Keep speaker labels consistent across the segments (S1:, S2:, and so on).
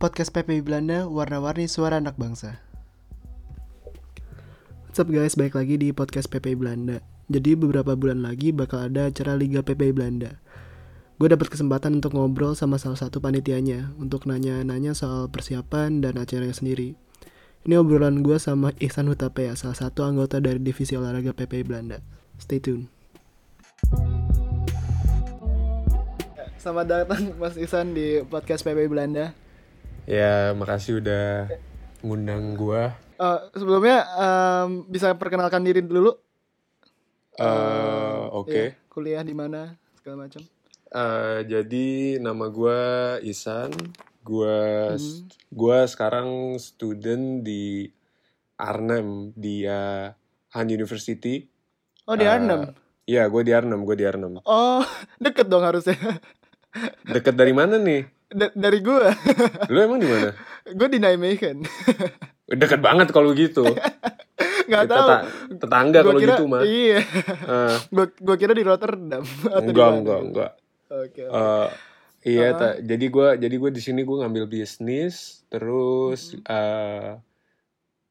S1: podcast PPI Belanda, warna-warni suara anak bangsa. What's up guys, balik lagi di podcast PPI Belanda. Jadi beberapa bulan lagi bakal ada acara Liga PPI Belanda. Gue dapat kesempatan untuk ngobrol sama salah satu panitianya untuk nanya-nanya soal persiapan dan acaranya sendiri. Ini obrolan gue sama Ihsan Hutapea, salah satu anggota dari divisi olahraga PPI Belanda. Stay tune. Selamat datang Mas Ihsan di podcast PPI Belanda.
S2: Ya, makasih udah ngundang gua.
S1: Eh, sebelumnya em, bisa perkenalkan diri dulu.
S2: Eh, oke.
S1: Iya, kuliah di mana segala macam.
S2: Eh, jadi nama gua Isan.
S1: Hmm.
S2: Gua s- gua sekarang student di Arnhem di eh, Han University.
S1: Oh di
S2: Eh,
S1: Arnhem.
S2: Iya, gua di Arnhem, gua di Arnhem.
S1: Oh deket dong harusnya.
S2: Deket dari mana nih?
S1: Da- dari gue,
S2: Lu emang di mana?
S1: gue di Nijmegen.
S2: Deket banget kalau gitu.
S1: Gak
S2: Kita
S1: tahu.
S2: ta- tetangga
S1: Gua
S2: kalau
S1: kira,
S2: gitu mah.
S1: Iya.
S2: Eh,
S1: Gue gue kira di Rotterdam. atau di
S2: enggak,
S1: mana.
S2: enggak, enggak.
S1: Oke. oke.
S2: Eh, iya, Ta. jadi gue jadi gue di sini gue ngambil bisnis, terus
S1: Mm-hmm.
S2: eh,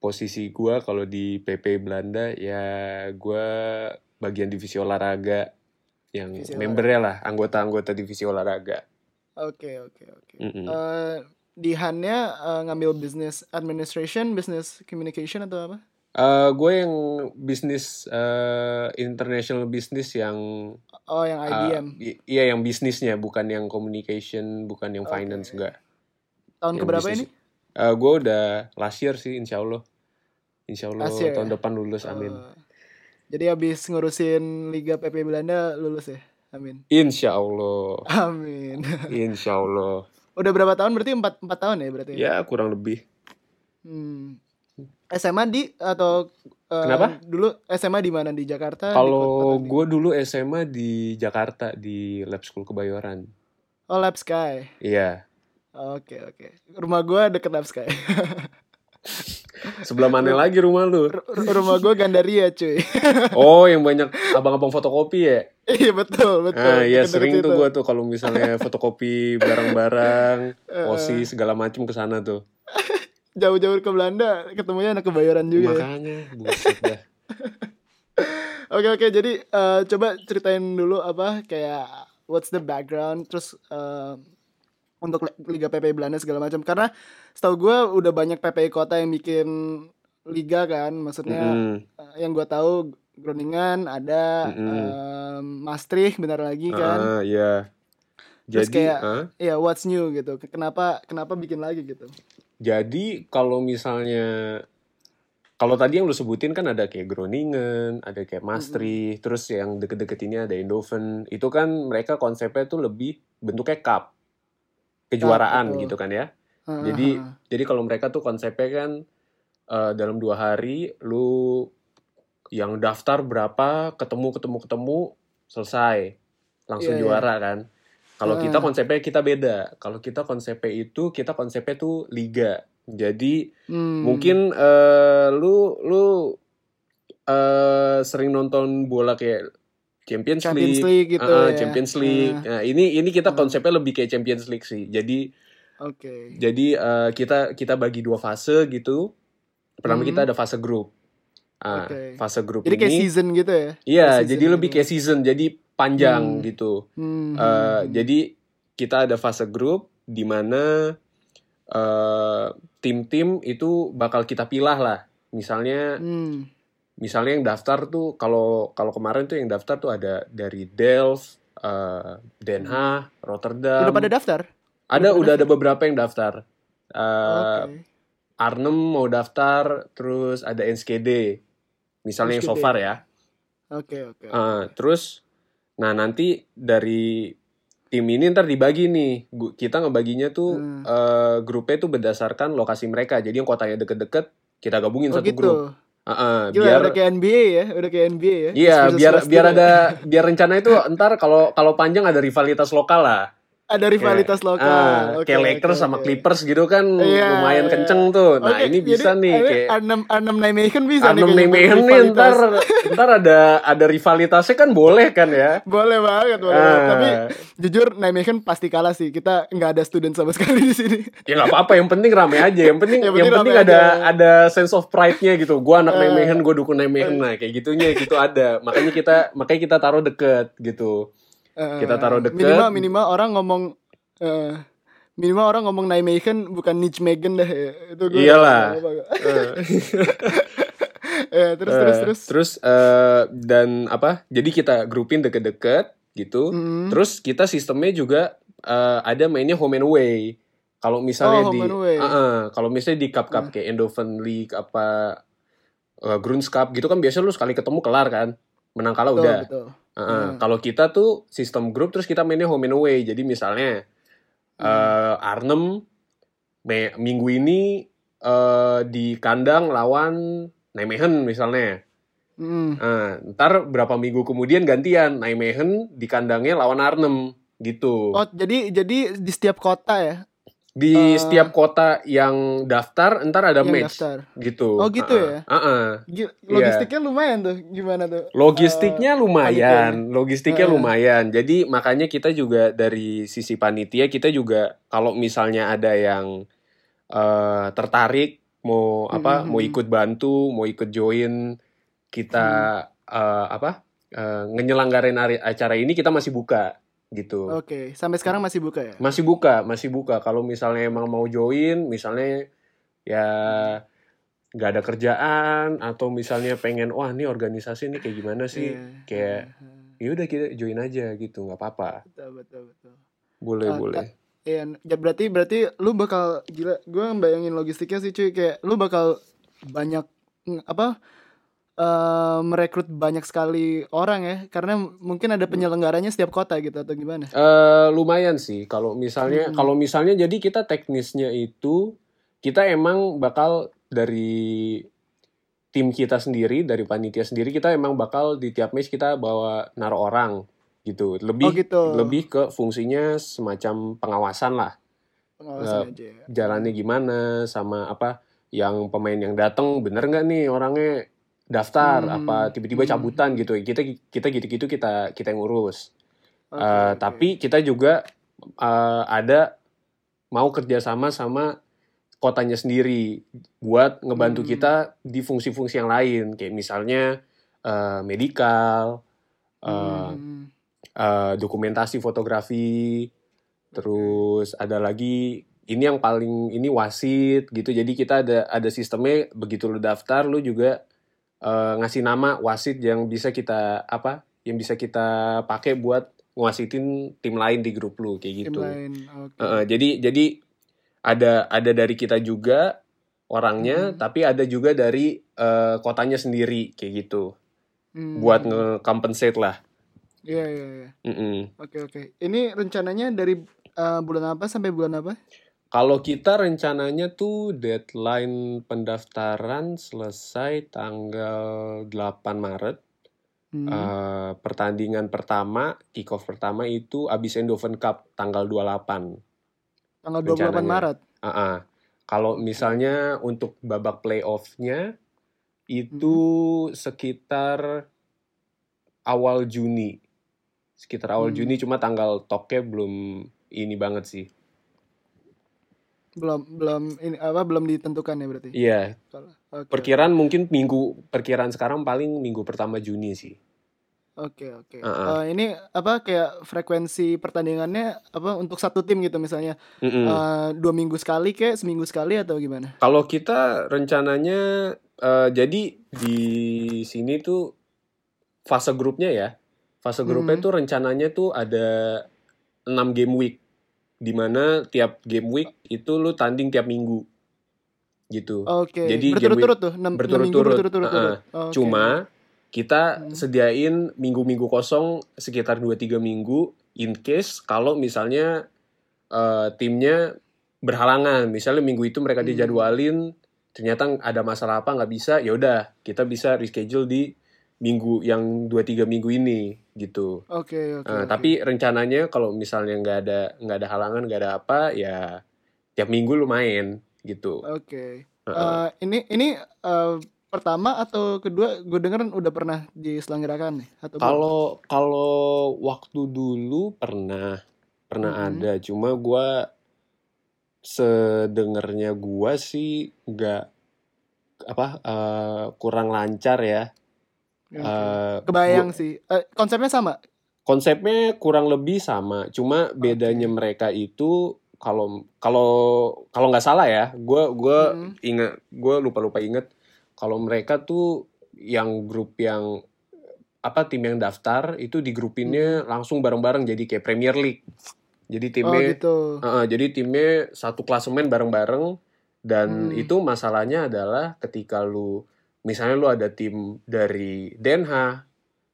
S2: posisi gue kalau di PP Belanda ya gue bagian divisi olahraga yang
S1: Divisi
S2: membernya lah anggota-anggota divisi olahraga.
S1: Oke oke oke.
S2: Mm-mm.
S1: Eh, Di Hannya eh, ngambil business administration, business communication atau apa?
S2: Eh, gue yang bisnis eh, international bisnis yang
S1: Oh yang
S2: eh,
S1: IBM.
S2: i- iya yang bisnisnya bukan yang communication bukan yang
S1: Oke.
S2: finance enggak.
S1: Tahun
S2: yang
S1: keberapa ini?
S2: bisnis. Eh, gue udah last year sih insya Allah Insya Allah
S1: Last year
S2: tahun
S1: ya?
S2: depan lulus amin
S1: Oh. Jadi habis ngurusin Liga PP Belanda lulus ya? Amin.
S2: Insya Allah
S1: Amin.
S2: Insya Allah
S1: Udah berapa tahun berarti? Empat, empat tahun ya berarti?
S2: Ya kurang lebih
S1: Kan Hmm. SMA di atau eh,
S2: Kenapa?
S1: Dulu SMA di mana di Jakarta? di
S2: Kalau
S1: kota-
S2: gue dulu SMA di Jakarta Di Lab School Kebayoran
S1: Oh Lab Sky.
S2: Iya
S1: Oke oke. Rumah gua deket Lab Sky.
S2: Sebelah mana lagi rumah lu?
S1: Ru- ru- Rumah gua Gandaria cuy.
S2: Oh yang banyak abang-abang fotokopi ya?
S1: Iya betul betul.
S2: Ah,
S1: Deket-deket
S2: iya sering tuh
S1: situ.
S2: gue tuh kalau misalnya fotokopi barang-barang
S1: Eh,
S2: Osis segala macem kesana tuh
S1: Jauh-jauh ke Belanda ketemunya anak kebayoran juga. ya.
S2: Makanya buset dah
S1: Oke oke jadi eh, coba ceritain dulu apa kayak what's the background terus eh, untuk li- Liga PPI Belanda segala macam karena setahu gue udah banyak PPI kota yang bikin liga kan maksudnya
S2: Mm-mm.
S1: eh, yang gue tahu Groningen ada
S2: Mm-mm.
S1: em, Maastricht bentar lagi kan
S2: Ah, iya.
S1: Terus
S2: Jadi,
S1: kayak-
S2: ah,
S1: ya what's new gitu kenapa kenapa bikin lagi gitu
S2: jadi kalau misalnya kalau tadi yang lu sebutin kan ada kayak Groningen, ada kayak Maastricht, terus yang deket-deket ini ada Eindhoven. Itu kan mereka konsepnya tuh lebih bentuknya cup. Kejuaraan
S1: betul.
S2: gitu kan ya.
S1: Ah,
S2: Jadi-
S1: ah,
S2: Jadi kalau mereka tuh konsepnya kan eh, dalam dua hari lu yang daftar berapa ketemu ketemu ketemu selesai langsung
S1: Iya, iya.
S2: juara kan. Kalau kita
S1: Ah.
S2: konsepnya kita beda. Kalau kita konsepnya itu kita konsepnya tuh liga. Jadi
S1: ah. Hmm.
S2: mungkin eh, lu lu eh, sering nonton bola kayak Champions,
S1: Champions
S2: League,
S1: League gitu
S2: ah, ah,
S1: ya
S2: Champions League.
S1: Ah,
S2: Nah, ini ini kita
S1: Ah.
S2: konsepnya lebih kayak Champions League sih. Jadi
S1: oke
S2: jadi eh, kita kita bagi dua fase gitu. Pertama
S1: Hmm.
S2: kita ada fase grup. Ah,
S1: Oke.
S2: fase grup
S1: jadi kayak
S2: ini
S1: season gitu ya
S2: iya,
S1: kayak
S2: jadi
S1: season
S2: lebih
S1: gitu.
S2: kayak season, jadi panjang
S1: Hmm.
S2: gitu.
S1: Hmm,
S2: Eh,
S1: hmm,
S2: jadi kita ada fase grup di mana eh, tim-tim itu bakal kita pilah lah. Misalnya
S1: hmm.
S2: misalnya yang daftar tuh kalau kalau kemarin tuh yang daftar tuh ada dari Delft, eh, Den Haag, Rotterdam.
S1: udah pada daftar
S2: ada
S1: udah pada
S2: udah ada beberapa yang daftar. Eh,
S1: Oke.
S2: Arnhem mau daftar, terus ada NSKD, misalnya yang so
S1: NSKD.
S2: far ya.
S1: Oke, oke.
S2: Ah, terus, nah nanti dari tim ini ntar dibagi nih, Gu- kita ngebaginya tuh
S1: Hmm.
S2: eh, grupnya tuh berdasarkan lokasi mereka. Jadi yang kotanya deket-deket kita gabungin
S1: Oh
S2: satu
S1: gitu.
S2: grup. Ah, ah,
S1: Gila,
S2: biar
S1: udah kayak NBA ya, udah kayak NBA ya.
S2: iya
S1: Versus
S2: biar
S1: versus
S2: biar
S1: gitu ya.
S2: ada biar rencana itu ntar kalau kalau panjang ada rivalitas lokal lah.
S1: Ada rivalitas lokal.
S2: Ah,
S1: Oke,
S2: kayak
S1: oke,
S2: Lakers
S1: oke.
S2: sama Clippers gitu kan
S1: Iya,
S2: lumayan
S1: iya.
S2: kenceng tuh. Nah,
S1: Oke,
S2: ini bisa
S1: jadi
S2: nih
S1: ada
S2: kayak
S1: Arnhem Arnhem Nijmegen bisa nih.
S2: Arnhem
S1: kayaknya
S2: Nijmegen nih
S1: rivalitas.
S2: ntar ntar ada ada rivalitasnya kan boleh kan ya.
S1: Boleh banget, boleh.
S2: Ah.
S1: banget. Tapi jujur Nijmegen pasti kalah sih. Kita nggak ada student sama sekali di sini.
S2: Ya nggak apa-apa, yang penting rame aja, yang penting
S1: Yang
S2: yang
S1: penting
S2: penting,
S1: rame
S2: ada
S1: aja.
S2: ada sense of pride-nya gitu. Gua anak
S1: Eh.
S2: Nijmegen, gua dukung Nijmegen nah kayak gitunya gitu ada. Makanya kita makanya kita taruh deket gitu.
S1: Eh,
S2: Kita taruh deket.
S1: Minimal minimal orang ngomong eh, minimal orang ngomong Nijmegen bukan Nijmegen dah. ya. Itu gua-
S2: Iyalah.
S1: Eh, Ah. terus,
S2: Eh,
S1: terus terus
S2: terus eh, dan apa? Jadi kita grupin deket-deket gitu.
S1: Mm.
S2: Terus kita sistemnya juga eh, ada mainnya home and away. Kalau misalnya
S1: Oh,
S2: di
S1: home and away. Hmm.
S2: Ah-ah, kalau misalnya di cup-cup kayak Endoven League apa eh, Grunds Cup gitu kan biasanya lu sekali ketemu kelar kan. Menang kalah
S1: Betul,
S2: udah.
S1: betul.
S2: Ah-ah.
S1: Hmm.
S2: Kalau kita tuh sistem grup terus kita mainnya home and away. Jadi misalnya
S1: Hmm.
S2: eh, Arnhem me- minggu ini eh, di kandang lawan Nijmegen misalnya.
S1: Mm.
S2: Nah, ntar berapa minggu kemudian gantian Nijmegen di kandangnya lawan Arnhem gitu.
S1: Oh, jadi jadi di setiap kota ya
S2: di
S1: eh,
S2: setiap kota yang daftar ntar ada
S1: yang
S2: match
S1: daftar.
S2: gitu.
S1: Oh, gitu
S2: Ah-ah.
S1: ya?
S2: Ah-ah.
S1: Gi-
S2: Iya.
S1: Logistiknya lumayan tuh. Gimana tuh?
S2: Logistiknya lumayan, logistiknya
S1: Eh.
S2: lumayan. Jadi makanya kita juga dari sisi panitia kita juga kalau misalnya ada yang eh, tertarik mau apa
S1: Mm-mm.
S2: mau ikut bantu, mau ikut join kita
S1: Hmm.
S2: eh, apa eh, ngenyelenggarin ari- acara ini kita masih buka gitu.
S1: Oh, Oke, sampai sekarang masih buka ya?
S2: Masih buka, masih buka. Kalau misalnya emang mau join, misalnya ya nggak ada kerjaan atau misalnya pengen wah ini organisasi ini kayak gimana sih?
S1: Iya.
S2: kayak-
S1: Iya.
S2: Ya udah kita join aja gitu, nggak apa-apa.
S1: Betul, betul, betul.
S2: Boleh,
S1: Ah,
S2: boleh.
S1: Iya, ya berarti berarti lu bakal gila. Gua ngebayangin logistiknya sih cuy kayak lu bakal banyak mm, apa? eh, merekrut banyak sekali orang ya karena mungkin ada penyelenggaranya setiap kota gitu atau gimana?
S2: Eh, lumayan sih kalau misalnya
S1: Mm-mm.
S2: kalau misalnya jadi kita teknisnya itu kita emang bakal dari tim kita sendiri dari panitia sendiri kita emang bakal di tiap match kita bawa naruh orang gitu lebih
S1: Oh, gitu.
S2: lebih ke fungsinya semacam pengawasan lah
S1: Pengawasan aja.
S2: eh,
S1: ya.
S2: jalannya gimana sama apa yang pemain yang datang bener nggak nih orangnya daftar
S1: Hmm.
S2: apa tiba-tiba
S1: Hmm.
S2: cabutan gitu kita kita gitu-gitu kita kita yang urus
S1: Oke,
S2: Eh,
S1: oke.
S2: Tapi kita juga eh, ada mau kerjasama sama kotanya sendiri buat ngebantu
S1: Hmm.
S2: kita di fungsi-fungsi yang lain, kayak misalnya eh, medikal, eh,
S1: Hmm.
S2: eh, dokumentasi fotografi, terus ada lagi ini yang paling ini wasit gitu. Jadi kita ada ada sistemnya begitu lu daftar, lu juga eh, ngasih nama wasit yang bisa kita apa? Yang bisa kita pakai buat ngwasitin tim lain di grup lu kayak
S1: Tim
S2: gitu.
S1: lain. Oke.
S2: Heeh, jadi jadi ada ada dari kita juga orangnya,
S1: Mhm.
S2: tapi ada juga dari eh, kotanya sendiri kayak gitu
S1: Hmm.
S2: buat nge-compensate lah.
S1: Iya, iya, iya.
S2: Mm-mm.
S1: Oke, oke. Ini rencananya dari eh, bulan apa sampai bulan apa?
S2: Kalau kita rencananya tuh deadline pendaftaran selesai tanggal 8 Maret.
S1: Hmm.
S2: Eh, pertandingan pertama, kick-off pertama itu abis Endoven Cup tanggal 28.
S1: Tanggal 28
S2: rencananya.
S1: Maret.
S2: Ah-ah. Kalau misalnya untuk babak playoff-nya itu
S1: Hmm.
S2: sekitar awal Juni. Sekitar awal
S1: Hmm.
S2: Juni cuma tanggal toknya belum ini banget sih.
S1: Belum belum ini apa belum ditentukan ya berarti.
S2: Iya,
S1: Kalau- Oke.
S2: Perkiraan mungkin minggu perkiraan sekarang paling minggu pertama Juni sih.
S1: Oke oke.
S2: Heeh.
S1: Eh, ini apa kayak frekuensi pertandingannya apa untuk satu tim gitu misalnya
S2: Mm-mm.
S1: Eh, dua minggu sekali kayak seminggu sekali atau gimana?
S2: Kalau kita rencananya eh, jadi di sini tuh fase grupnya ya. Fase grupnya
S1: Mm.
S2: tuh rencananya tuh ada 6 game week di mana tiap game week itu lu tanding tiap minggu. Gitu.
S1: Oke.
S2: Jadi game
S1: berturut-turut tuh enam enam minggu
S2: berturut-turut.
S1: berturut-turut. turut. Oke.
S2: Cuma kita
S1: Hmm.
S2: sediain minggu-minggu kosong sekitar 2-3 minggu in case kalau misalnya eh, timnya berhalangan. Misalnya minggu itu mereka
S1: Hmm.
S2: dijadwalin ternyata ada masalah apa nggak bisa, ya udah kita bisa reschedule di minggu yang 2-3 minggu ini gitu.
S1: Oke, oke.
S2: Eh,
S1: oke.
S2: Tapi rencananya kalau misalnya nggak ada nggak ada halangan nggak ada apa ya tiap minggu lu main gitu.
S1: oke.
S2: Heeh.
S1: Eh, ini ini eh, pertama atau kedua gue denger udah pernah diselenggarakan nih atau belum?
S2: Kalau kalau waktu dulu pernah pernah
S1: Mhm.
S2: ada, cuma gua sedengernya gua sih nggak apa eh, kurang lancar ya.
S1: Oke.
S2: Eh,
S1: kebayang sih Eh, konsepnya sama
S2: konsepnya kurang lebih sama cuma bedanya
S1: Oke.
S2: mereka itu kalau kalau kalau nggak salah ya gue gue
S1: Mm.
S2: ingat gue lupa lupa inget kalau mereka tuh yang grup yang apa tim yang daftar itu digrupinnya langsung bareng bareng jadi kayak Premier League jadi
S1: Hmm. oh
S2: timnya
S1: gitu
S2: Heeh, jadi timnya satu klasemen bareng-bareng
S1: Hmm.
S2: dan itu masalahnya adalah ketika lu misalnya lu ada tim dari Den Haag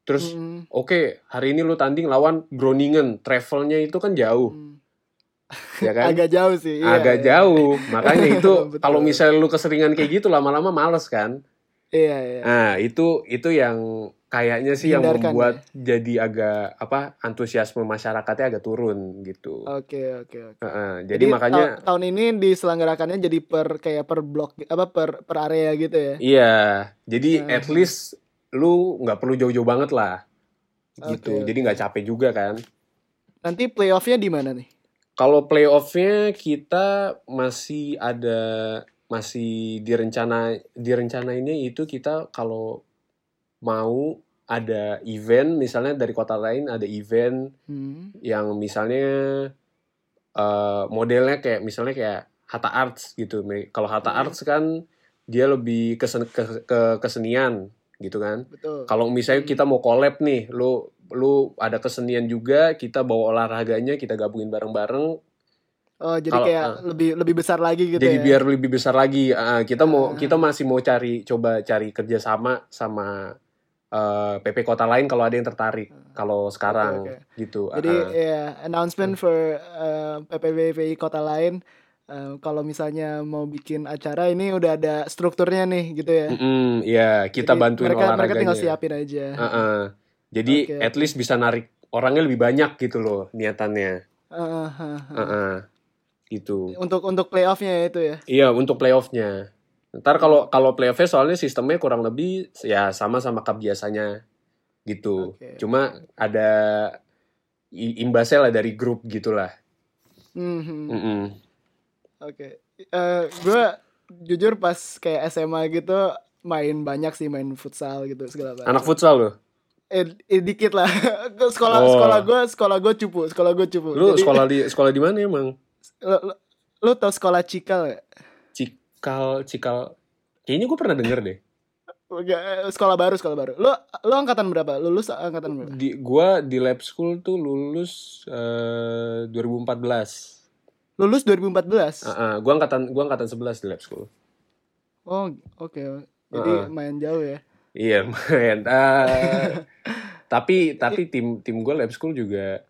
S2: terus
S1: Mm,
S2: oke hari ini lu tanding lawan Groningen travelnya itu kan jauh
S1: mm.
S2: ya kan
S1: agak jauh sih iya,
S2: agak
S1: iya.
S2: jauh makanya itu
S1: Betul.
S2: kalau misalnya lu keseringan kayak gitu lama-lama males kan
S1: iya iya
S2: nah itu itu yang kayaknya sih yang
S1: Hindarkan,
S2: membuat
S1: ya?
S2: jadi agak apa antusiasme masyarakatnya agak turun gitu
S1: oke oke oke
S2: Heeh, jadi, makanya
S1: ta- tahun ini diselenggarakannya jadi per kayak per blok apa per per area gitu ya
S2: Iya, jadi
S1: Nah.
S2: at least lu nggak perlu jauh-jauh banget lah, gitu.
S1: Oke,
S2: Jadi nggak capek juga kan.
S1: nanti playoffnya di mana nih
S2: Kalau playoffnya kita masih ada masih direncana direncanainnya itu kita kalau mau ada event misalnya dari kota lain ada event
S1: Hmm.
S2: yang misalnya eh, modelnya kayak misalnya kayak Hatta Arts gitu. Kalau Hatta
S1: Hmm.
S2: Arts kan dia lebih kesen- ke- ke kesenian gitu kan.
S1: betul
S2: kalau misalnya
S1: Hmm.
S2: kita mau collab nih lu lu ada kesenian juga kita bawa olahraganya kita gabungin bareng-bareng
S1: oh jadi
S2: kalau-
S1: kayak
S2: ah.
S1: lebih lebih besar lagi gitu
S2: jadi
S1: ya
S2: biar lebih besar lagi Ah, kita mau
S1: Ah.
S2: kita masih mau cari coba cari kerjasama sama eh, PP kota lain kalau ada yang tertarik kalau sekarang
S1: oke.
S2: gitu Ah,
S1: Jadi
S2: ah.
S1: ya announcement for uh, PPBPI kota lain uh, kalau misalnya mau bikin acara ini udah ada strukturnya nih gitu ya.
S2: Mm-mm, ya kita
S1: Jadi
S2: bantuin
S1: mereka mereka
S2: olahraganya
S1: tinggal siapin aja.
S2: Ah, ah. jadi
S1: Oke,
S2: at least bisa narik orangnya lebih banyak gitu loh niatannya
S1: Ah, ah,
S2: Ah,
S1: ah.
S2: ah. gitu
S1: Untuk untuk playoffnya itu ya.
S2: Iya untuk playoffnya. Ntar kalau kalau playoffnya soalnya sistemnya kurang lebih ya sama sama cup biasanya gitu.
S1: Oke.
S2: Cuma ada i- imbasnya lah dari grup gitulah.
S1: Mhm.
S2: Mm-mm.
S1: Oke. Eh, gue jujur pas kayak SMA gitu main banyak sih main futsal gitu segala macam.
S2: Anak futsal loh.
S1: eh, eh, dikit lah. sekolah
S2: Oh.
S1: sekolah gue sekolah gue cupu sekolah gue cupu.
S2: Lu
S1: Jadi,
S2: sekolah di sekolah di mana emang?
S1: lu, lu- lu tau sekolah cikal gak?
S2: Cikal Cikal. Kayaknya gue pernah denger deh.
S1: Enggak, eh, sekolah baru sekolah baru lu lu angkatan berapa lulus angkatan berapa
S2: Di gua di lab school tuh lulus eh, 2014.
S1: lulus 2014
S2: Ah, ah, gua angkatan gua angkatan 11 di lab school.
S1: oh oke jadi
S2: Ah.
S1: main jauh ya
S2: Iya, lumayan. Ah, tapi tapi tim tim gue lab school juga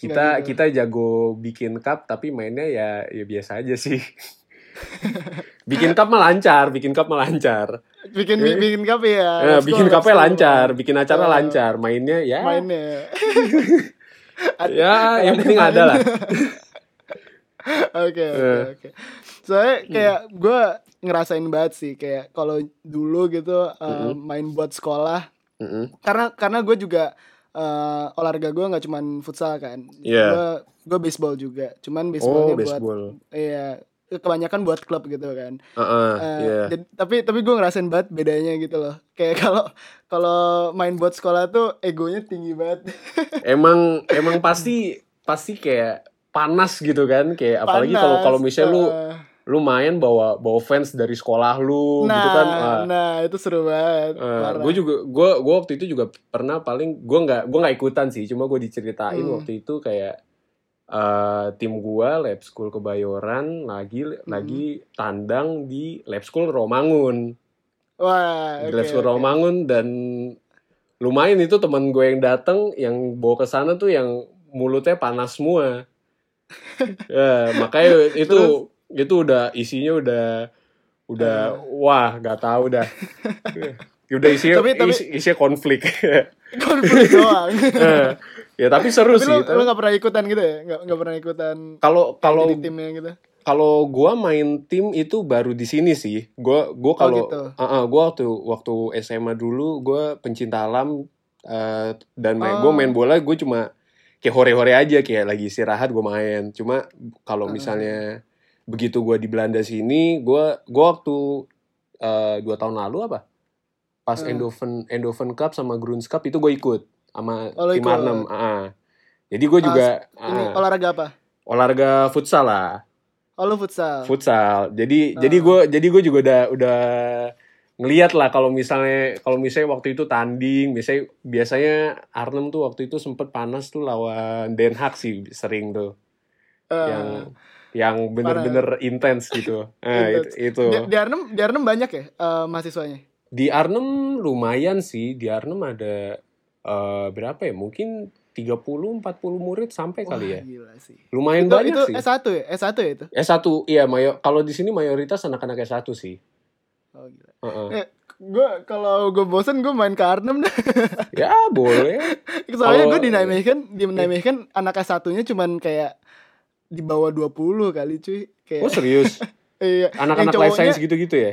S2: kita
S1: Nggak gitu.
S2: kita jago bikin cup tapi mainnya ya ya biasa aja sih. bikin cup mah lancar, bikin cup mah lancar.
S1: bikin bi- bikin kafe ya
S2: Eh,
S1: let's go,
S2: bikin
S1: let's
S2: cupnya
S1: go.
S2: lancar, bikin acara
S1: Eh,
S2: lancar, mainnya ya
S1: mainnya
S2: ya yang penting ada lah.
S1: oke oke
S2: Eh.
S1: oke soalnya kayak gue ngerasain banget sih kayak kalau dulu gitu eh,
S2: Mm-mm.
S1: main buat sekolah
S2: Mm-mm.
S1: karena karena gue juga eh, olahraga gue nggak cuman futsal kan
S2: Iya.
S1: gue gue baseball juga cuman
S2: Oh,
S1: baseballnya buat
S2: baseball.
S1: iya kebanyakan buat klub gitu kan
S2: Heeh,
S1: Eh,
S2: iya.
S1: jadi- tapi tapi gue ngerasain banget bedanya gitu loh kayak kalau kalau main buat sekolah tuh egonya tinggi banget
S2: Emang emang pasti pasti kayak panas gitu kan, kayak apalagi kalau
S1: Panas,
S2: kalau misalnya lu
S1: eh,
S2: lu main bawa bawa fans dari sekolah lu
S1: nah
S2: gitu kan Ah,
S1: nah itu seru banget parah.
S2: gue juga gue gue waktu itu juga pernah paling gue nggak gue nggak ikutan sih cuma gue diceritain
S1: Hmm.
S2: waktu itu kayak eh, tim gue lab school kebayoran lagi
S1: Hmm.
S2: lagi tandang di lab school Romangun
S1: wah
S2: di
S1: oke,
S2: lab school
S1: oke.
S2: Romangun dan lumayan itu teman gue yang datang yang bawa ke sana tuh yang mulutnya panas semua ya makanya itu itu udah isinya udah udah wah nggak tahu dah udah isinya
S1: Eh. Tapi- tapi-
S2: is- isinya konflik
S1: konflik doang
S2: Eh, ya tapi seru
S1: tapi
S2: sih
S1: lu,
S2: tapi-
S1: lu gak pernah ikutan gitu ya nggak nggak pernah ikutan
S2: kalau kalau
S1: jadi timnya gitu
S2: kalau gua main tim itu baru di sini sih gua gua kalau
S1: gitu.
S2: Ah, ah, gua waktu waktu SMA dulu gua pencinta alam eh, dan main, gua
S1: Oh.
S2: main bola gue cuma kayak hore-hore aja kayak lagi istirahat gua main cuma kalau
S1: Ah.
S2: misalnya begitu gua di Belanda sini gua gua waktu eh, dua tahun lalu apa pas
S1: Ah.
S2: Endoven Endoven Cup sama Groens Cup itu gue ikut sama
S1: Oh, lu
S2: tim
S1: ikut.
S2: Arnhem ah, ah. jadi gue
S1: Pas
S2: juga
S1: ini
S2: ah,
S1: olahraga apa
S2: olahraga futsal lah
S1: oh lu futsal
S2: futsal. Jadi
S1: Ah.
S2: jadi gue jadi gue juga udah udah ngeliat lah kalau misalnya kalau misalnya waktu itu tanding, misalnya biasanya Arnhem tuh waktu itu sempet panas tuh lawan Den Haag sih sering tuh
S1: Eh,
S2: yang yang bener-bener intens gitu. Eh,
S1: Intens.
S2: itu, itu.
S1: di, di Arnhem di Arnhem banyak ya eh, mahasiswanya
S2: Di Arnhem lumayan sih, di Arnhem ada eh, berapa ya? Mungkin 30 40 murid sampai
S1: Wah,
S2: kali ya.
S1: gila sih
S2: Lumayan
S1: itu,
S2: banyak
S1: itu
S2: sih.
S1: S1 ya S1 ya itu
S2: S1 iya mayo kalau di sini mayoritas anak-anak S1 sih.
S1: oh gila
S2: Heeh.
S1: gue kalau gue bosen gue main ke Arnhem dah
S2: Ya boleh.
S1: soalnya
S2: Kalau-
S1: gue di Nijmegen
S2: iya.
S1: di Nijmegen anak S1 nya cuman kayak di bawah 20 kali cuy kayak
S2: Oh serius?
S1: iya Yang
S2: Anak-anak life
S1: cowoknya-
S2: science gitu-gitu ya?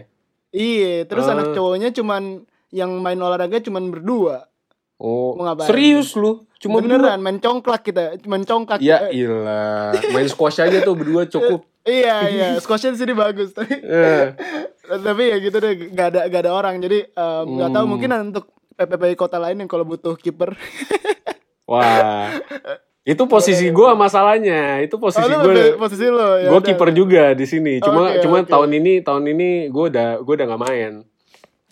S1: Iya, terus
S2: Ah.
S1: anak cowoknya cuman yang main olahraga cuman berdua.
S2: Oh,
S1: Mau ngapain?
S2: serius lu? Cuma
S1: Beneran main congklak kita, main congklak.
S2: berdua? Ya
S1: Eh,
S2: ilah. Main squash aja tuh berdua cukup.
S1: iya, iya. Squashnya di sini bagus, tapi
S2: Eh,
S1: tapi ya gitu deh, gak ada gak ada orang. Jadi em, nggak tahu
S2: Hmm.
S1: mungkin untuk PPP kota lain yang kalau butuh kiper.
S2: Wah. Itu posisi gua masalahnya. Itu posisi
S1: Iya, Oh, lu
S2: gua.
S1: PPP posisi lo. ya
S2: Gua
S1: udah.
S2: kiper juga di sini. Cuma
S1: Oke,
S2: cuma
S1: oke.
S2: tahun ini tahun ini gua udah gua udah nggak main.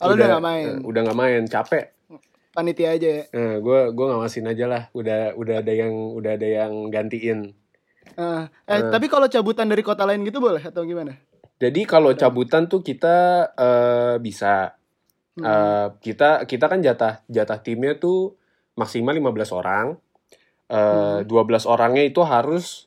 S1: Oh, lu udah nggak main.
S2: eh, udah nggak main, capek.
S1: Panitia aja ya.
S2: Eh, gua gua ngawasin aja lah. Udah udah ada yang udah ada yang gantiin.
S1: Ah, eh, tapi kalau cabutan dari kota lain gitu boleh atau gimana?
S2: Jadi kalau cabutan tuh kita eh, bisa
S1: Hmm.
S2: Eh, kita kita kan jatah jatah timnya tuh maksimal 15 orang.
S1: Hmm.
S2: Eh, 12 orangnya itu harus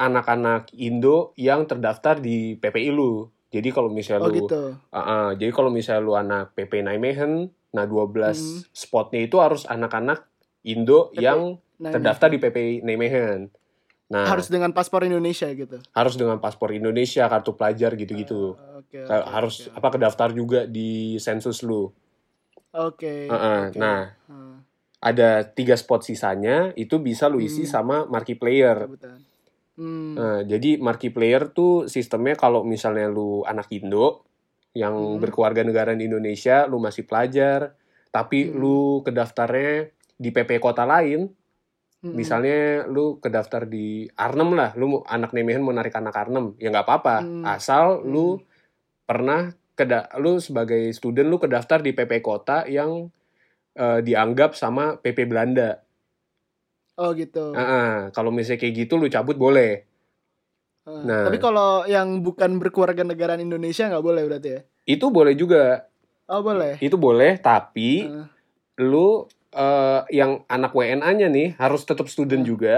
S2: anak-anak Indo yang terdaftar di PPI lu. Jadi kalau misalnya
S1: Oh
S2: lu
S1: gitu.
S2: Ah, ah, jadi kalau misalnya lu anak PP Nijmegen, nah 12
S1: Hmm.
S2: spotnya itu harus anak-anak Indo
S1: PP.
S2: yang
S1: Nah,
S2: terdaftar di PPI Nijmegen. Nah,
S1: harus
S2: harus,
S1: dengan paspor Indonesia gitu.
S2: dengan paspor Indonesia, kartu pelajar gitu-gitu.
S1: Ah, Oke. oke,
S2: Ka- harus
S1: oke.
S2: apa kedaftar juga di sensus lu.
S1: Oke.
S2: Ah, ah,
S1: oke.
S2: Nah,
S1: Ah,
S2: ada tiga spot sisanya itu bisa lu isi
S1: Hmm.
S2: sama marquee player.
S1: cabutan. Hmm.
S2: Nah, jadi marquee player tuh sistemnya kalau misalnya lu anak Indo yang
S1: Hmm.
S2: berkeluarga negara Indonesia, lu masih pelajar, tapi
S1: Hmm.
S2: lu kedaftarnya di PP kota lain,
S1: Mm-mm.
S2: misalnya lu kedaftar di Arnhem lah, lu mau- anak Nemehen mau narik anak Arnhem, ya nggak apa-apa,
S1: Hmm.
S2: asal lu pernah keda lu sebagai student lu kedaftar di PP kota yang eh, dianggap sama PP Belanda.
S1: oh gitu.
S2: Ah, ah. kalau misalnya kayak gitu lu cabut boleh.
S1: Ah,
S2: nah.
S1: Tapi kalau yang bukan berkeluarga negara Indonesia nggak boleh berarti ya?
S2: Itu boleh juga.
S1: Oh boleh.
S2: Itu boleh, tapi
S1: Ah,
S2: lu eh, yang anak WNA-nya nih harus tetap student
S1: Ah.
S2: juga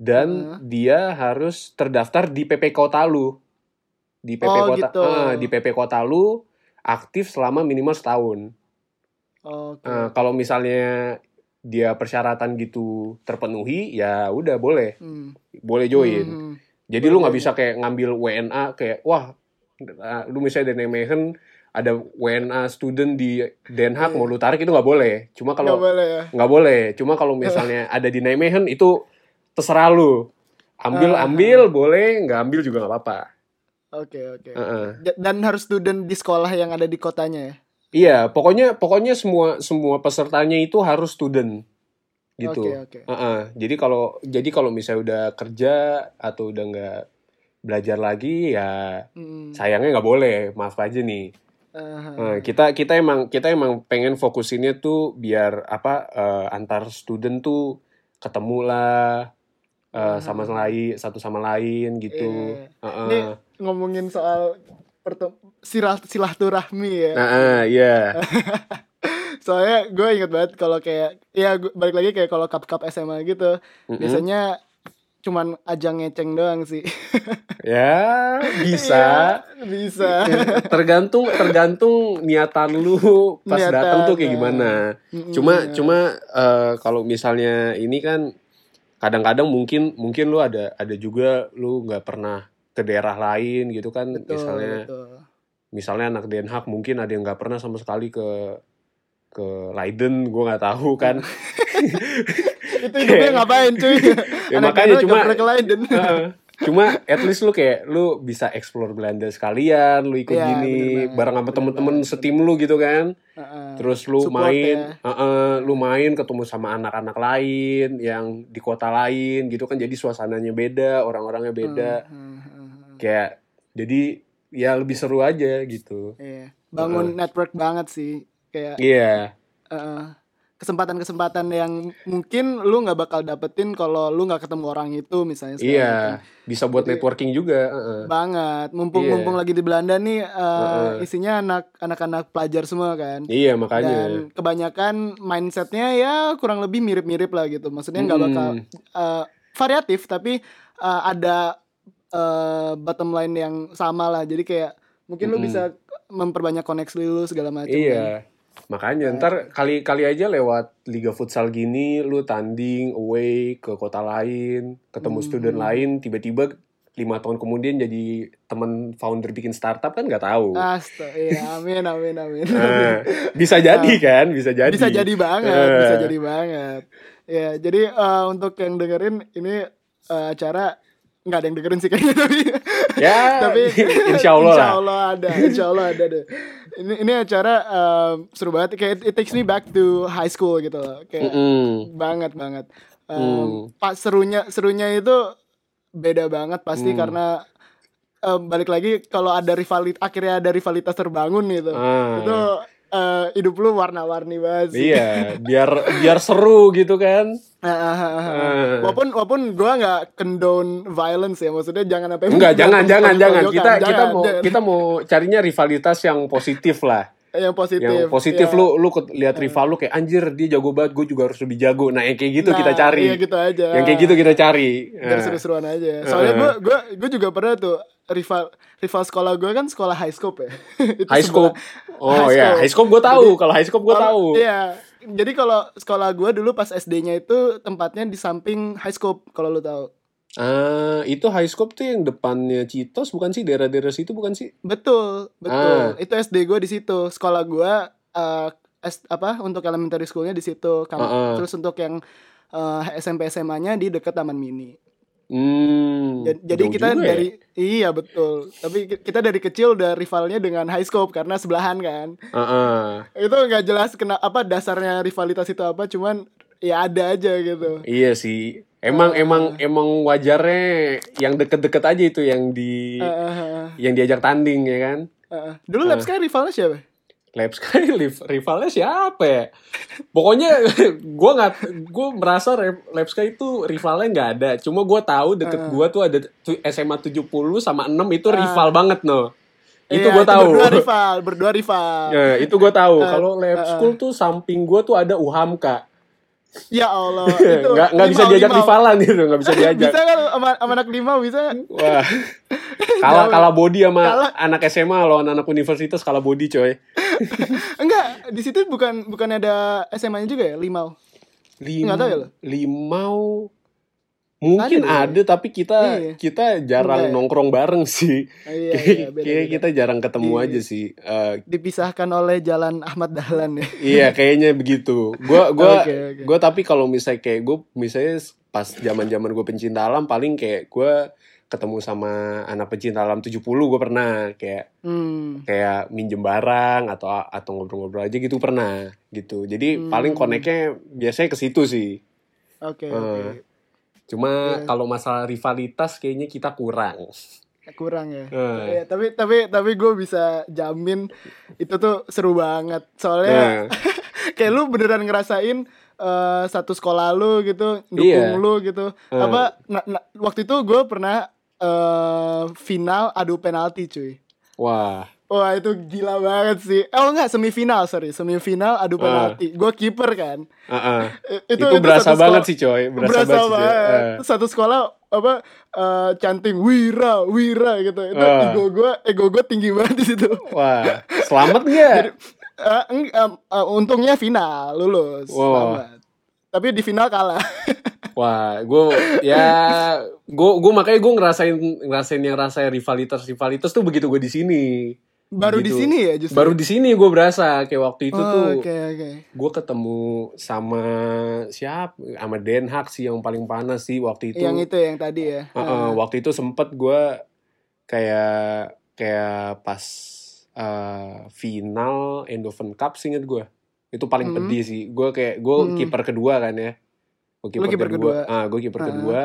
S2: dan
S1: Ah.
S2: dia harus terdaftar di PP kota lu. Di PP
S1: Oh,
S2: kota
S1: gitu.
S2: ah, di PP kota lu aktif selama minimal setahun.
S1: Oke.
S2: Ah, kalau misalnya dia persyaratan gitu terpenuhi, ya udah boleh,
S1: Hmm.
S2: boleh join.
S1: Hmm.
S2: Jadi lu nggak
S1: Boleh.
S2: bisa kayak ngambil WNA kayak wah uh, lu misalnya dari Nijmegen ada WNA student di Den Haag
S1: Iya.
S2: mau lu tarik itu nggak boleh. Cuma
S1: Nggak
S2: kalau
S1: boleh ya.
S2: nggak boleh. Cuma kalau misalnya ada di Nijmegen itu terserah lu. Ambil
S1: Ah.
S2: ambil boleh, nggak ambil juga nggak apa-apa.
S1: Oke oke.
S2: Heeh.
S1: Ja- Dan harus student di sekolah yang ada di kotanya ya.
S2: Iya, pokoknya pokoknya semua semua pesertanya itu harus student gitu.
S1: Oke oke.
S2: Heeh, Jadi kalau jadi kalau misalnya udah kerja atau udah nggak belajar lagi ya
S1: Hmm.
S2: sayangnya nggak boleh maaf aja nih
S1: Ah,
S2: Nah, kita kita emang kita emang pengen fokusinnya tuh biar apa eh, antar student tuh ketemu lah eh, sama
S1: Hmm.
S2: lain satu sama lain gitu
S1: iya.
S2: Heeh.
S1: Ini ngomongin soal pertem- sirah- silaturahmi ya.
S2: nah eh, iya
S1: Soalnya gue inget banget kalau kayak ya gua- balik lagi kayak kalau cup cup SMA gitu.
S2: Mm-mm.
S1: biasanya cuman ajang ngeceng doang sih.
S2: Ya, bisa.
S1: Iya, bisa.
S2: tergantung tergantung niatan lu pas
S1: Niatan,
S2: datang tuh kayak
S1: ya.
S2: gimana.
S1: Mm-mm,
S2: Cuma
S1: iya.
S2: cuma eh, kalau misalnya ini kan kadang-kadang mungkin mungkin lu ada ada juga lu nggak pernah ke daerah lain gitu kan
S1: betul,
S2: misalnya
S1: betul.
S2: misalnya anak Den Haag mungkin ada yang nggak pernah sama sekali ke ke Leiden gue nggak tahu kan
S1: Itu hidupnya ngapain cuy?
S2: ya
S1: Anak
S2: makanya
S1: Belanda
S2: cuma
S1: kampret ke Leiden.
S2: Heeh. cuma at least lu kayak lu bisa explore Belanda sekalian lu ikut
S1: Iya, bener
S2: gini
S1: banget,
S2: bareng sama
S1: bener
S2: temen-temen
S1: banget,
S2: setim lu gitu kan
S1: Heeh.
S2: terus lu
S1: Support
S2: main
S1: ya.
S2: heeh, lu main ketemu sama anak-anak lain yang di kota lain gitu kan jadi suasananya beda orang-orangnya beda
S1: Heeh, heeh, heeh.
S2: kayak jadi ya lebih seru aja gitu
S1: Iya. Bangun network banget sih. Kayak
S2: iya
S1: eh, kesempatan-kesempatan yang mungkin lu nggak bakal dapetin kalau lu nggak ketemu orang itu misalnya. segala
S2: iya
S1: macam.
S2: bisa buat
S1: Jadi-
S2: networking juga heeh.
S1: Banget. Mumpung
S2: Iya.
S1: mumpung lagi di Belanda nih eh,
S2: Heeh.
S1: isinya anak anak-anak pelajar semua kan.
S2: iya makanya
S1: Dan kebanyakan mindsetnya ya kurang lebih mirip-mirip lah gitu. Maksudnya nggak bakal
S2: Mm.
S1: eh, variatif tapi eh, ada eh, bottom line yang sama lah jadi kayak mungkin lu
S2: Mm-mm.
S1: bisa memperbanyak koneksi lu segala macam kan.
S2: Hmm. Iya. Makanya ntar kali kali aja lewat liga futsal gini lu tanding away ke kota lain, ketemu
S1: Hmm.
S2: student lain, tiba-tiba lima tahun kemudian jadi temen founder bikin startup kan nggak tahu.
S1: Astaga, iya, amin amin amin.
S2: Nah, bisa jadi kan, bisa jadi.
S1: Ah. bisa jadi banget,
S2: Eh.
S1: bisa jadi banget. Ya, jadi eh, untuk yang dengerin ini eh, acara nggak ada yang dengerin sih kayaknya tapi
S2: Ya,
S1: tapi
S2: insya Allah
S1: insya
S2: lah.
S1: Allah ada insya Allah ada deh ini ini acara eh, seru banget kayak it takes me back to high school gitu loh kayak
S2: Mm-mm.
S1: banget banget Em,
S2: Hmm.
S1: pak serunya serunya itu beda banget pasti
S2: Hmm.
S1: karena em, balik lagi kalau ada rivalitas akhirnya ada rivalitas terbangun gitu
S2: Ah,
S1: itu eh, hidup lu warna-warni banget sih.
S2: Iya, biar biar seru gitu kan.
S1: Ah, ah, ah, ah.
S2: Ah.
S1: walaupun walaupun gua nggak condone violence ya maksudnya jangan apa
S2: Enggak, jangan jangan jangan.
S1: kan?
S2: Kita kita mau kita mau carinya rivalitas yang positif lah.
S1: yang positif
S2: yang positif
S1: ya.
S2: lu lu ke- lihat rival lu kayak anjir dia jago banget gue juga harus lebih jago nah yang kayak gitu
S1: Nah,
S2: kita cari
S1: iya gitu aja
S2: yang kayak gitu kita cari
S1: biar
S2: Nah,
S1: seru-seruan aja soalnya
S2: Eh.
S1: gue gue gue juga pernah tuh rival rival sekolah gue kan sekolah high scope ya Itu
S2: high scope
S1: sebelah-
S2: oh ya high scope gue tahu kalau high scope gue
S1: Kalau-
S2: tahu
S1: iya jadi kalau sekolah gue dulu pas SD-nya itu tempatnya di samping high scope kalau lu tahu
S2: ah itu high scope tuh yang depannya Citos bukan sih daerah-daerah situ bukan sih
S1: betul
S2: Ah.
S1: betul itu SD gue di situ sekolah gue eh, S- apa untuk elementary schoolnya di situ Kam-
S2: Heeh.
S1: terus untuk yang eh, SMP SMA-nya di dekat taman mini
S2: hmm,
S1: Ja- jadi
S2: jauh
S1: kita
S2: juga ya.
S1: dari iya betul. Tapi ki- kita dari kecil udah rivalnya dengan high scope karena sebelahan kan.
S2: Ah, ah.
S1: Itu nggak jelas kena apa dasarnya rivalitas itu apa, cuman ya ada aja gitu.
S2: iya sih emang
S1: Eh.
S2: emang emang wajarnya yang deket-deket aja itu yang di
S1: Ah, ah, ah,
S2: yang diajak tanding ya kan
S1: ah, ah. Dulu Lab Sky rivalnya siapa?
S2: Lab Sky liv- rivalnya siapa ya? Pokoknya gue nggak, gue merasa Re- Lab Sky itu rivalnya nggak ada. Cuma gue tahu deket
S1: Ah.
S2: gua tuh ada tu- SMA 70 sama 6 itu rival banget no. Itu
S1: Iya,
S2: gue tahu.
S1: Berdua rival, Ah, berdua rival.
S2: Ya, itu gue tahu. Kalau Lab School tuh samping gue tuh ada UHAMKA.
S1: Ya Allah, itu
S2: Nggak nggak bisa
S1: limau,
S2: diajak
S1: limau.
S2: rivalan gitu, nggak bisa diajak.
S1: Bisa kan sama, sama anak lima bisa?
S2: Wah, kalah kalah body sama
S1: Kalah.
S2: anak SMA lawan anak universitas kalah body coy.
S1: Enggak, di situ bukan bukan ada SMA-nya juga ya, limau.
S2: Lim,
S1: Nggak tahu ya lo?
S2: limau mungkin
S1: Ada ya?
S2: ada, tapi kita
S1: Iya.
S2: kita
S1: Enggak
S2: jarang
S1: ya?
S2: nongkrong bareng sih.
S1: Ah, Iya,
S2: Kayak-
S1: iya,
S2: kayak
S1: beda-beda.
S2: kita jarang ketemu
S1: Iya.
S2: aja sih. Eh,
S1: Dipisahkan oleh jalan Ahmad Dahlan ya.
S2: iya kayaknya begitu. Gua gua
S1: Oke, oke.
S2: gua tapi kalau misalnya kayak gue misalnya pas zaman-zaman gue pencinta alam paling kayak gua ketemu sama anak pencinta alam 70 gue pernah kayak
S1: Hmm.
S2: kayak minjem barang atau atau ngobrol-ngobrol aja gitu pernah gitu. Jadi paling
S1: Hmm.
S2: koneknya biasanya ke situ sih.
S1: Oke,
S2: Eh.
S1: oke.
S2: Cuma
S1: Iya.
S2: kalau masalah rivalitas kayaknya kita kurang.
S1: Kurang ya.
S2: Eh.
S1: Ya, tapi tapi tapi gue bisa jamin itu tuh seru banget. Soalnya
S2: Eh.
S1: kayak lu beneran ngerasain eh, satu sekolah lu gitu, dukung
S2: Iya.
S1: lu gitu.
S2: Eh.
S1: Apa na- na- waktu itu gue pernah eh, final adu penalti cuy.
S2: Wah,
S1: Wah itu gila banget sih. Eh, Oh enggak semifinal sorry semifinal adu
S2: Ah.
S1: penalti. Gue kiper kan.
S2: Heeh.
S1: Eh,
S2: Itu, berasa
S1: satu
S2: banget
S1: sekolah-
S2: sih coy, berasa,
S1: Berasa,
S2: banget. sih, coy.
S1: banget.
S2: Eh.
S1: Satu sekolah apa eh, canting Wira Wira gitu. Itu
S2: Ah.
S1: ego gue ego gue tinggi banget di situ.
S2: Wah, selamat nggak?
S1: Eh, eng- em, eh, untungnya final lulus.
S2: Wow.
S1: selamat. Tapi di final kalah.
S2: Wah, gue ya gue gue makanya gue ngerasain ngerasain yang rasanya rivalitas rivalitas tuh begitu gue di sini.
S1: Iya Baru di
S2: Gitu.
S1: sini ya justru.
S2: Baru di sini gue berasa kayak waktu itu
S1: Oh,
S2: tuh
S1: Oke oke.
S2: gue ketemu sama siap sama Den Haag sih yang paling panas sih waktu itu. Eh,
S1: Yang itu yang tadi ya.
S2: Heeh, waktu itu sempet gue kayak kayak pas eh, final Endoven Cup singet gue itu paling
S1: Hmm.
S2: pedih sih gue kayak gue
S1: Hmm.
S2: kiper kedua kan ya gue
S1: Lu kiper kedua.
S2: ah gue kiper
S1: Ah.
S2: kedua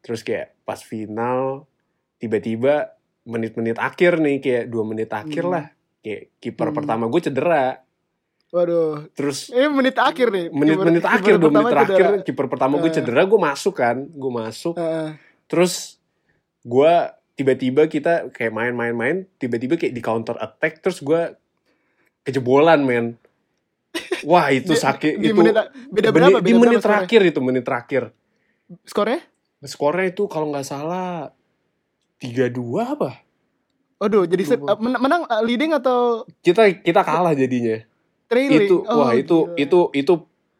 S2: terus kayak pas final tiba-tiba menit-menit akhir nih kayak dua menit akhir
S1: Hmm.
S2: lah kayak kiper
S1: Hmm.
S2: pertama gue cedera
S1: Waduh.
S2: terus
S1: Ini menit akhir nih.
S2: menit-menit
S1: Kiper-
S2: akhir
S1: kiper
S2: dua menit
S1: pertama
S2: terakhir
S1: cedera.
S2: kiper pertama gue
S1: Ah.
S2: cedera gue masuk kan gue masuk
S1: Heeh.
S2: terus gua tiba-tiba kita kayak main-main-main tiba-tiba kayak di counter attack terus gua kejebolan men wah itu
S1: Di-
S2: sakit
S1: di
S2: itu
S1: menit beda
S2: beni-
S1: berapa? Beda
S2: di menit
S1: berapa skornya?
S2: terakhir itu menit terakhir
S1: Skornya?
S2: skornya itu kalau nggak salah 3-2 apa
S1: Aduh, jadi set-
S2: Dua.
S1: eh, men- menang eh, leading atau
S2: kita kita kalah jadinya
S1: trailing?
S2: itu
S1: Oh,
S2: wah itu
S1: gila.
S2: itu itu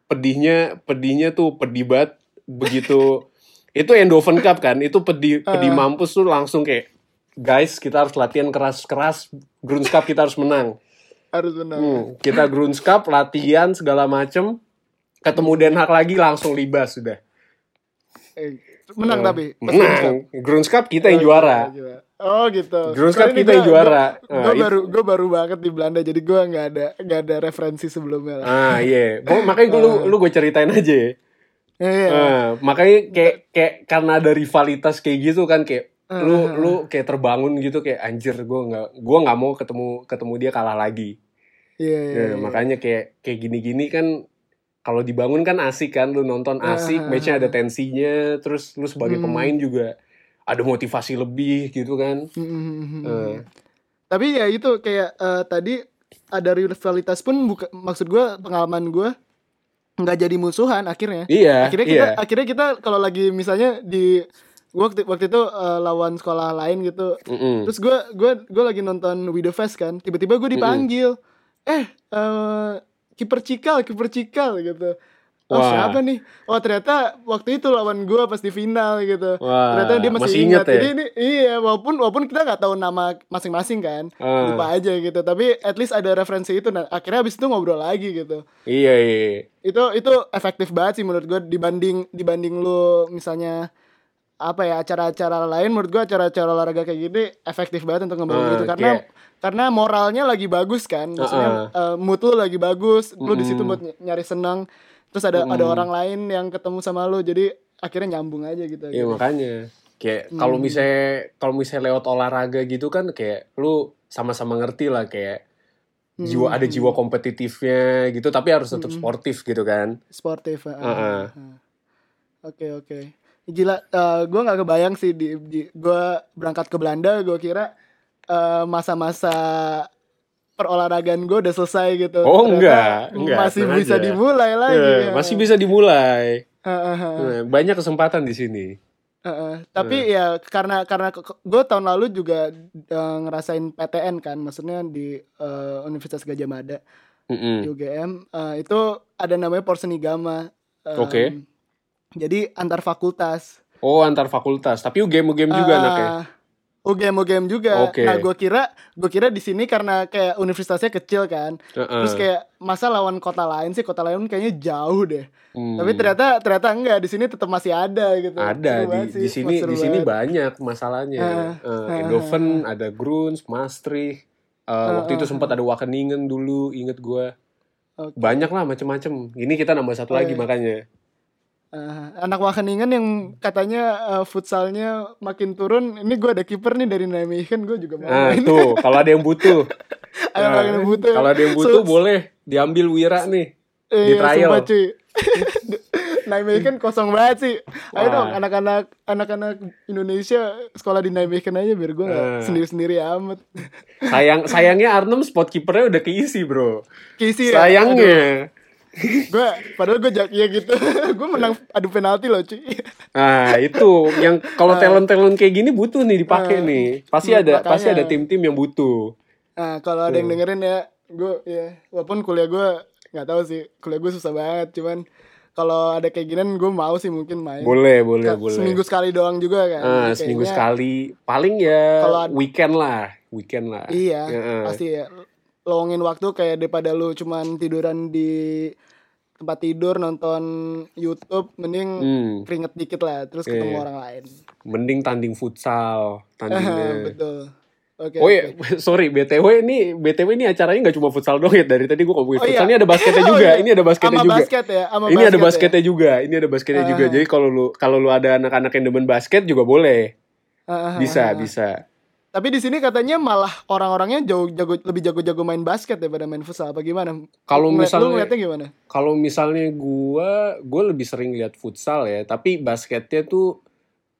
S2: pedihnya pedihnya tuh pedih banget begitu itu Endoven Cup kan itu pedih pedih
S1: Ah.
S2: mampus tuh langsung kayak guys kita harus latihan keras-keras Grunge Cup kita harus menang
S1: harus menang.
S2: Hmm, kita Grunge Cup, latihan segala macem. Ketemu Den Haag lagi langsung libas sudah.
S1: Eh, menang
S2: Hmm.
S1: tapi pas World Cup.
S2: Menang. Grunge Cup kita yang
S1: Oh,
S2: juara.
S1: gila. Oh gitu.
S2: Grunge
S1: Sorry
S2: Cup
S1: nih,
S2: kita yang
S1: gua-
S2: juara.
S1: Gue
S2: Nah,
S1: baru gue baru banget di Belanda jadi gue nggak ada nggak ada referensi sebelumnya lah.
S2: Ah iya, Pokok- makanya gue lu,
S1: Ah.
S2: lu gue ceritain aja. ya.
S1: Iya, iya.
S2: Ah, makanya kayak kayak karena ada rivalitas kayak gitu kan kayak lu
S1: Ah.
S2: lu kayak terbangun gitu kayak anjir gue nggak gue nggak mau ketemu ketemu dia kalah lagi.
S1: Iya, iya,
S2: Ya,
S1: iya.
S2: makanya kayak kayak gini-gini kan kalau dibangun kan asik kan lu nonton asik
S1: Ah.
S2: matchnya ada tensinya terus lu sebagai
S1: Hmm.
S2: pemain juga ada motivasi lebih gitu kan
S1: Mm-hmm.
S2: Eh.
S1: Tapi ya itu kayak eh, tadi ada rivalitas pun buka, maksud gue pengalaman gue nggak jadi musuhan akhirnya.
S2: iya
S1: Akhirnya kita
S2: iya
S1: akhirnya kita kalau lagi misalnya di gua waktu waktu itu eh, lawan sekolah lain gitu.
S2: Mm-mm.
S1: Terus gue gue gue lagi nonton We The Fest kan. Tiba-tiba
S2: Hmm.
S1: gue dipanggil. Eh eh, kiper Cikal, kiper Cikal gitu. Oh
S2: Wah.
S1: siapa nih? Oh ternyata waktu itu lawan gue pas di final gitu.
S2: Wah,
S1: ternyata dia masih,
S2: masih
S1: ingat.
S2: ingat ya?
S1: Jadi ini iya walaupun walaupun kita nggak tahu nama masing-masing kan.
S2: Ah.
S1: Lupa aja gitu. Tapi at least ada referensi itu. Nah akhirnya abis itu ngobrol lagi gitu.
S2: iya iya
S1: Itu itu efektif banget sih menurut gue dibanding dibanding lu misalnya apa ya acara-acara lain menurut gua acara-acara olahraga kayak gini efektif banget untuk ngebangun
S2: Ah,
S1: itu karena
S2: kayak-
S1: karena moralnya lagi bagus kan
S2: Ah,
S1: maksudnya eh, mood lu lagi bagus lu di
S2: Hmm.
S1: situ buat ny- nyari senang terus ada ada orang lain yang ketemu sama lu jadi akhirnya nyambung aja gitu Hmm.
S2: iya
S1: akhirnya.
S2: makanya kayak kalau misalnya kalau misalnya lewat olahraga gitu kan kayak lu sama-sama ngerti lah kayak jiwa
S1: Hmm.
S2: ada jiwa kompetitifnya gitu tapi harus tetap sportif gitu kan
S1: sportif ah,
S2: Ah, ah.
S1: ah. oke oke gila eh, gua nggak kebayang sih di, di- gua berangkat ke Belanda gua kira eh, masa-masa perolahragaan gua udah selesai gitu Ternyata
S2: Oh, enggak, enggak,
S1: masih
S2: tenang
S1: bisa
S2: aja.
S1: dimulai lagi gitu ya.
S2: Eh, masih bisa dimulai
S1: Ah, ah, iya. ah.
S2: Eh, banyak kesempatan di sini
S1: Heeh, tapi ya
S2: Iya.
S1: karena karena gue tahun lalu juga eh, ngerasain PTN kan, maksudnya di eh, Universitas Gajah Mada
S2: Mm-mm.
S1: di UGM eh, itu ada namanya Porsenigama. Em,
S2: Oke.
S1: Jadi antar fakultas.
S2: Oh antar fakultas, tapi game game juga
S1: Eh,
S2: anaknya.
S1: UGM UGM juga.
S2: Oke.
S1: Nah gue kira gue kira di sini karena kayak universitasnya kecil kan,
S2: Heeh.
S1: terus kayak masa lawan kota lain sih kota lain kayaknya jauh deh.
S2: Hmm.
S1: Tapi ternyata ternyata enggak di sini tetap masih ada gitu.
S2: ada
S1: Seru
S2: di
S1: banget sih,
S2: di sini
S1: seru
S2: di sini
S1: banget.
S2: banyak masalahnya.
S1: Ah,
S2: Eh, Eindhoven, ada Gruns, Maastricht. Eh,
S1: Ah,
S2: waktu itu sempat ada Wageningen dulu, inget gua
S1: Oke.
S2: Banyak lah macem-macem. Ini kita nambah satu
S1: Oh, iya.
S2: lagi makanya.
S1: Eh, anak Wageningen yang katanya eh, futsalnya makin turun. Ini gue ada kiper nih dari Nijmegen, gue juga mau
S2: Nah
S1: main.
S2: tuh kalau ada yang butuh,
S1: Ayo
S2: Nah,
S1: makin butuh.
S2: kalau ada yang butuh
S1: So-
S2: boleh diambil Wira nih.
S1: Eh,
S2: di trial.
S1: sumpah, cuy. Nijmegen kosong banget sih. Ayo
S2: Wah.
S1: dong anak-anak anak-anak Indonesia sekolah di Nijmegen aja biar gue nggak
S2: Eh.
S1: sendiri-sendiri amat.
S2: Sayang sayangnya Arnhem spot kipernya udah keisi, Bro.
S1: Kisi ya.
S2: Sayangnya.
S1: Gue padahal gue jak ya gitu. gue menang adu penalti loh, cuy.
S2: Nah, itu yang kalau talent-talent kayak gini butuh nih dipakai
S1: Eh,
S2: nih. Pasti
S1: Ah. iya,
S2: ada pasti
S1: makanya.
S2: ada tim-tim yang butuh.
S1: Nah, kalau ada
S2: Iya.
S1: yang dengerin ya, gue ya walaupun kuliah gue nggak tahu sih, kuliah gue susah banget, cuman kalau ada kayak ginian gue mau sih mungkin main.
S2: Boleh, boleh,
S1: Ka-
S2: boleh.
S1: Seminggu sekali doang juga kan.
S2: Ah,
S1: Kayaknya-
S2: seminggu sekali. Paling ya
S1: Kalau ad-
S2: weekend lah, weekend lah.
S1: Iya,
S2: Ya, eh.
S1: pasti ya. Lowongin waktu kayak daripada lu cuman tiduran di tempat tidur nonton YouTube mending
S2: Hmm,
S1: keringet dikit lah terus
S2: Iya,
S1: ketemu
S2: iya.
S1: orang lain.
S2: mending tanding futsal, tandingnya.
S1: Betul. Oke.
S2: Oh
S1: oke.
S2: iya, sorry BTW ini BTW ini acaranya nggak cuma futsal doang ya dari tadi gua ngomongin
S1: Oh,
S2: futsal
S1: iya.
S2: ini ada basketnya
S1: Oh,
S2: juga,
S1: iya.
S2: ini ada basketnya
S1: Sama
S2: juga.
S1: basket ya, sama
S2: ini ada
S1: basket ya.
S2: basketnya juga, ini ada basketnya juga.
S1: Ah.
S2: Jadi kalau lu kalau lu ada anak-anak yang demen basket juga boleh,
S1: Ah, ah,
S2: bisa
S1: ah, ah.
S2: bisa.
S1: Tapi di sini katanya malah orang-orangnya jauh jago lebih jago-jago main basket daripada main futsal apa gimana? Ngeliat-
S2: Kalau
S1: lu
S2: misalnya-
S1: ngeliatnya gimana?
S2: Kalau misalnya gua gue lebih sering lihat futsal ya, tapi basketnya tuh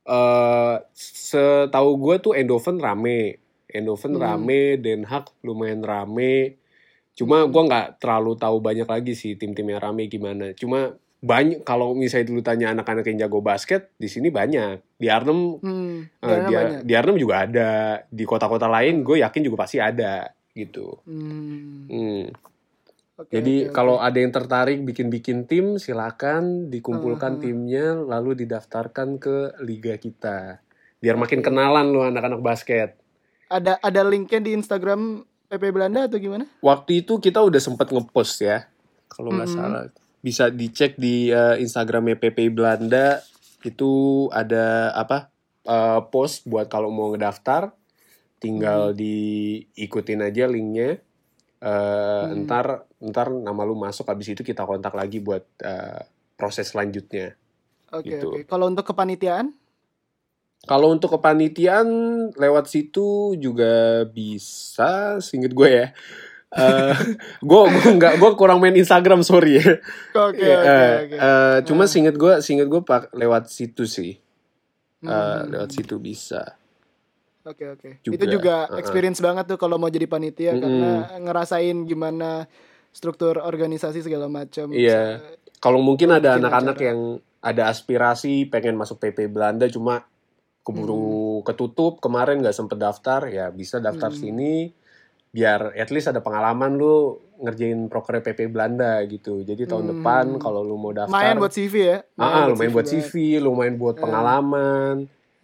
S2: eh setahu gua tuh Eindhoven rame, Eindhoven
S1: Hmm.
S2: rame, Den Haag lumayan rame. Cuma gua nggak terlalu tahu banyak lagi sih tim-tim yang rame gimana. Cuma banyak kalau misalnya dulu tanya anak-anak yang jago basket di sini banyak. Di Arnhem
S1: Hmm,
S2: Eh,
S1: karena
S2: di,
S1: banyak.
S2: di Arnhem juga ada di kota-kota lain gue yakin juga pasti ada gitu
S1: Hmm,
S2: Hmm.
S1: oke,
S2: jadi
S1: oke,
S2: kalau
S1: oke.
S2: ada yang tertarik bikin-bikin tim silakan
S1: Aha.
S2: dikumpulkan timnya lalu didaftarkan ke liga kita biar makin kenalan lo anak-anak basket
S1: ada ada linknya di Instagram PP Belanda atau gimana?
S2: waktu itu kita udah sempet ngepost ya kalau nggak
S1: Mhm.
S2: salah bisa dicek di eh, Instagramnya PP Belanda itu ada apa eh, post buat kalau mau ngedaftar tinggal diikutin aja linknya Eh,
S1: Mhm.
S2: ntar ntar nama lu masuk habis itu kita kontak lagi buat eh, proses selanjutnya
S1: Oke
S2: Gitu.
S1: oke. Kalau untuk kepanitiaan?
S2: kalau untuk kepanitiaan lewat situ juga bisa singkat gue ya Eh, gue gue nggak gue kurang main Instagram sorry ya
S1: Oke
S2: Eh,
S1: oke oke.
S2: eh, cuma
S1: Nah.
S2: singkat gue singkat gue pak lewat situ sih Eh,
S1: Hmm,
S2: lewat situ bisa
S1: Oke oke.
S2: juga.
S1: Itu juga
S2: Uh-uh.
S1: experience banget tuh kalau mau jadi panitia
S2: Mm-mm.
S1: karena ngerasain gimana struktur organisasi segala macam.
S2: Iya. kalau mungkin
S1: Lu
S2: ada
S1: bikin
S2: anak-anak
S1: acara.
S2: yang ada aspirasi pengen masuk PP Belanda cuma keburu ketutup kemarin nggak sempet daftar ya bisa daftar
S1: Hmm.
S2: sini biar at least ada pengalaman lu ngerjain proker PP Belanda gitu jadi tahun
S1: Hmm.
S2: depan kalau lu mau daftar
S1: Main buat CV ya.
S2: ah,
S1: Main
S2: lumayan
S1: banget. Uh-huh.
S2: buat CV lumayan buat
S1: Eh.
S2: pengalaman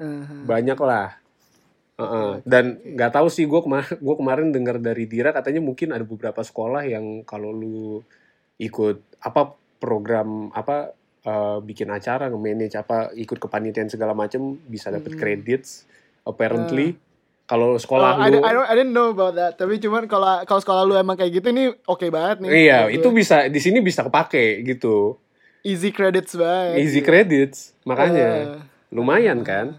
S1: Aha.
S2: banyak lah Hmm. Heeh.
S1: Oke,
S2: dan
S1: oke.
S2: nggak tahu sih gue kemarin gue kemarin dengar dari Dira katanya mungkin ada beberapa sekolah yang kalau lu ikut apa program apa eh, bikin acara nge-manage apa ikut kepanitiaan segala macem bisa dapat
S1: Hmm. Eh.
S2: credits apparently kalau
S1: Oh,
S2: sekolah
S1: I,
S2: lu
S1: don't- I don't- I didn't know about that. Tapi cuman kalau kalau sekolah lu emang kayak gitu ini oke banget nih.
S2: iya
S1: Menurut
S2: itu
S1: gue.
S2: bisa di sini bisa kepake gitu
S1: easy credits banget. Iya.
S2: easy credits makanya
S1: Eh,
S2: lumayan kan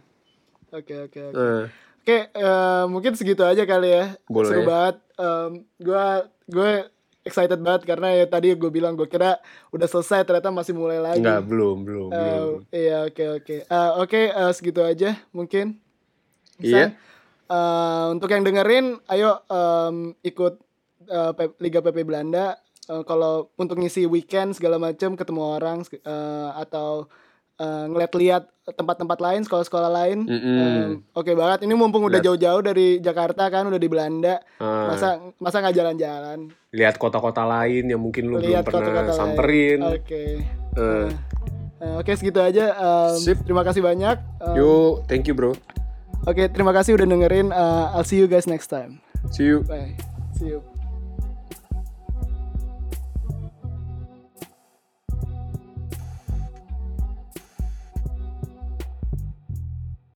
S1: Oke oke oke.
S2: Eh,
S1: Oke, eh, mungkin segitu aja kali ya.
S2: Boleh.
S1: Seru banget. gue gue excited banget karena ya tadi gue bilang gue kira udah selesai ternyata masih mulai lagi.
S2: nggak belum belum
S1: Eh,
S2: belum
S1: iya oke oke. Eh, oke eh, segitu aja mungkin.
S2: Iya.
S1: San, eh, untuk yang dengerin, ayo em, ikut eh, P- Liga PP Belanda. Eh, kalau untuk ngisi weekend segala macam, ketemu orang eh, atau eh, ngeliat-liat tempat-tempat lain, sekolah-sekolah lain.
S2: Mm-mm. Iya.
S1: em, Oke banget. Ini mumpung udah
S2: Lihat.
S1: jauh-jauh dari Jakarta kan, udah di Belanda.
S2: Ah.
S1: Masa masa nggak jalan-jalan?
S2: lihat kota-kota lain yang mungkin lu belum
S1: Lihat
S2: pernah
S1: kota-kota lain.
S2: samperin.
S1: Oke.
S2: Eh,
S1: Eh, Oke segitu aja. Em,
S2: Sip.
S1: terima kasih banyak. Em,
S2: Yo, thank you bro.
S1: Eh, Oke, terima kasih udah dengerin. Uh, I'll see you guys next time.
S2: See you.
S1: Bye. See you.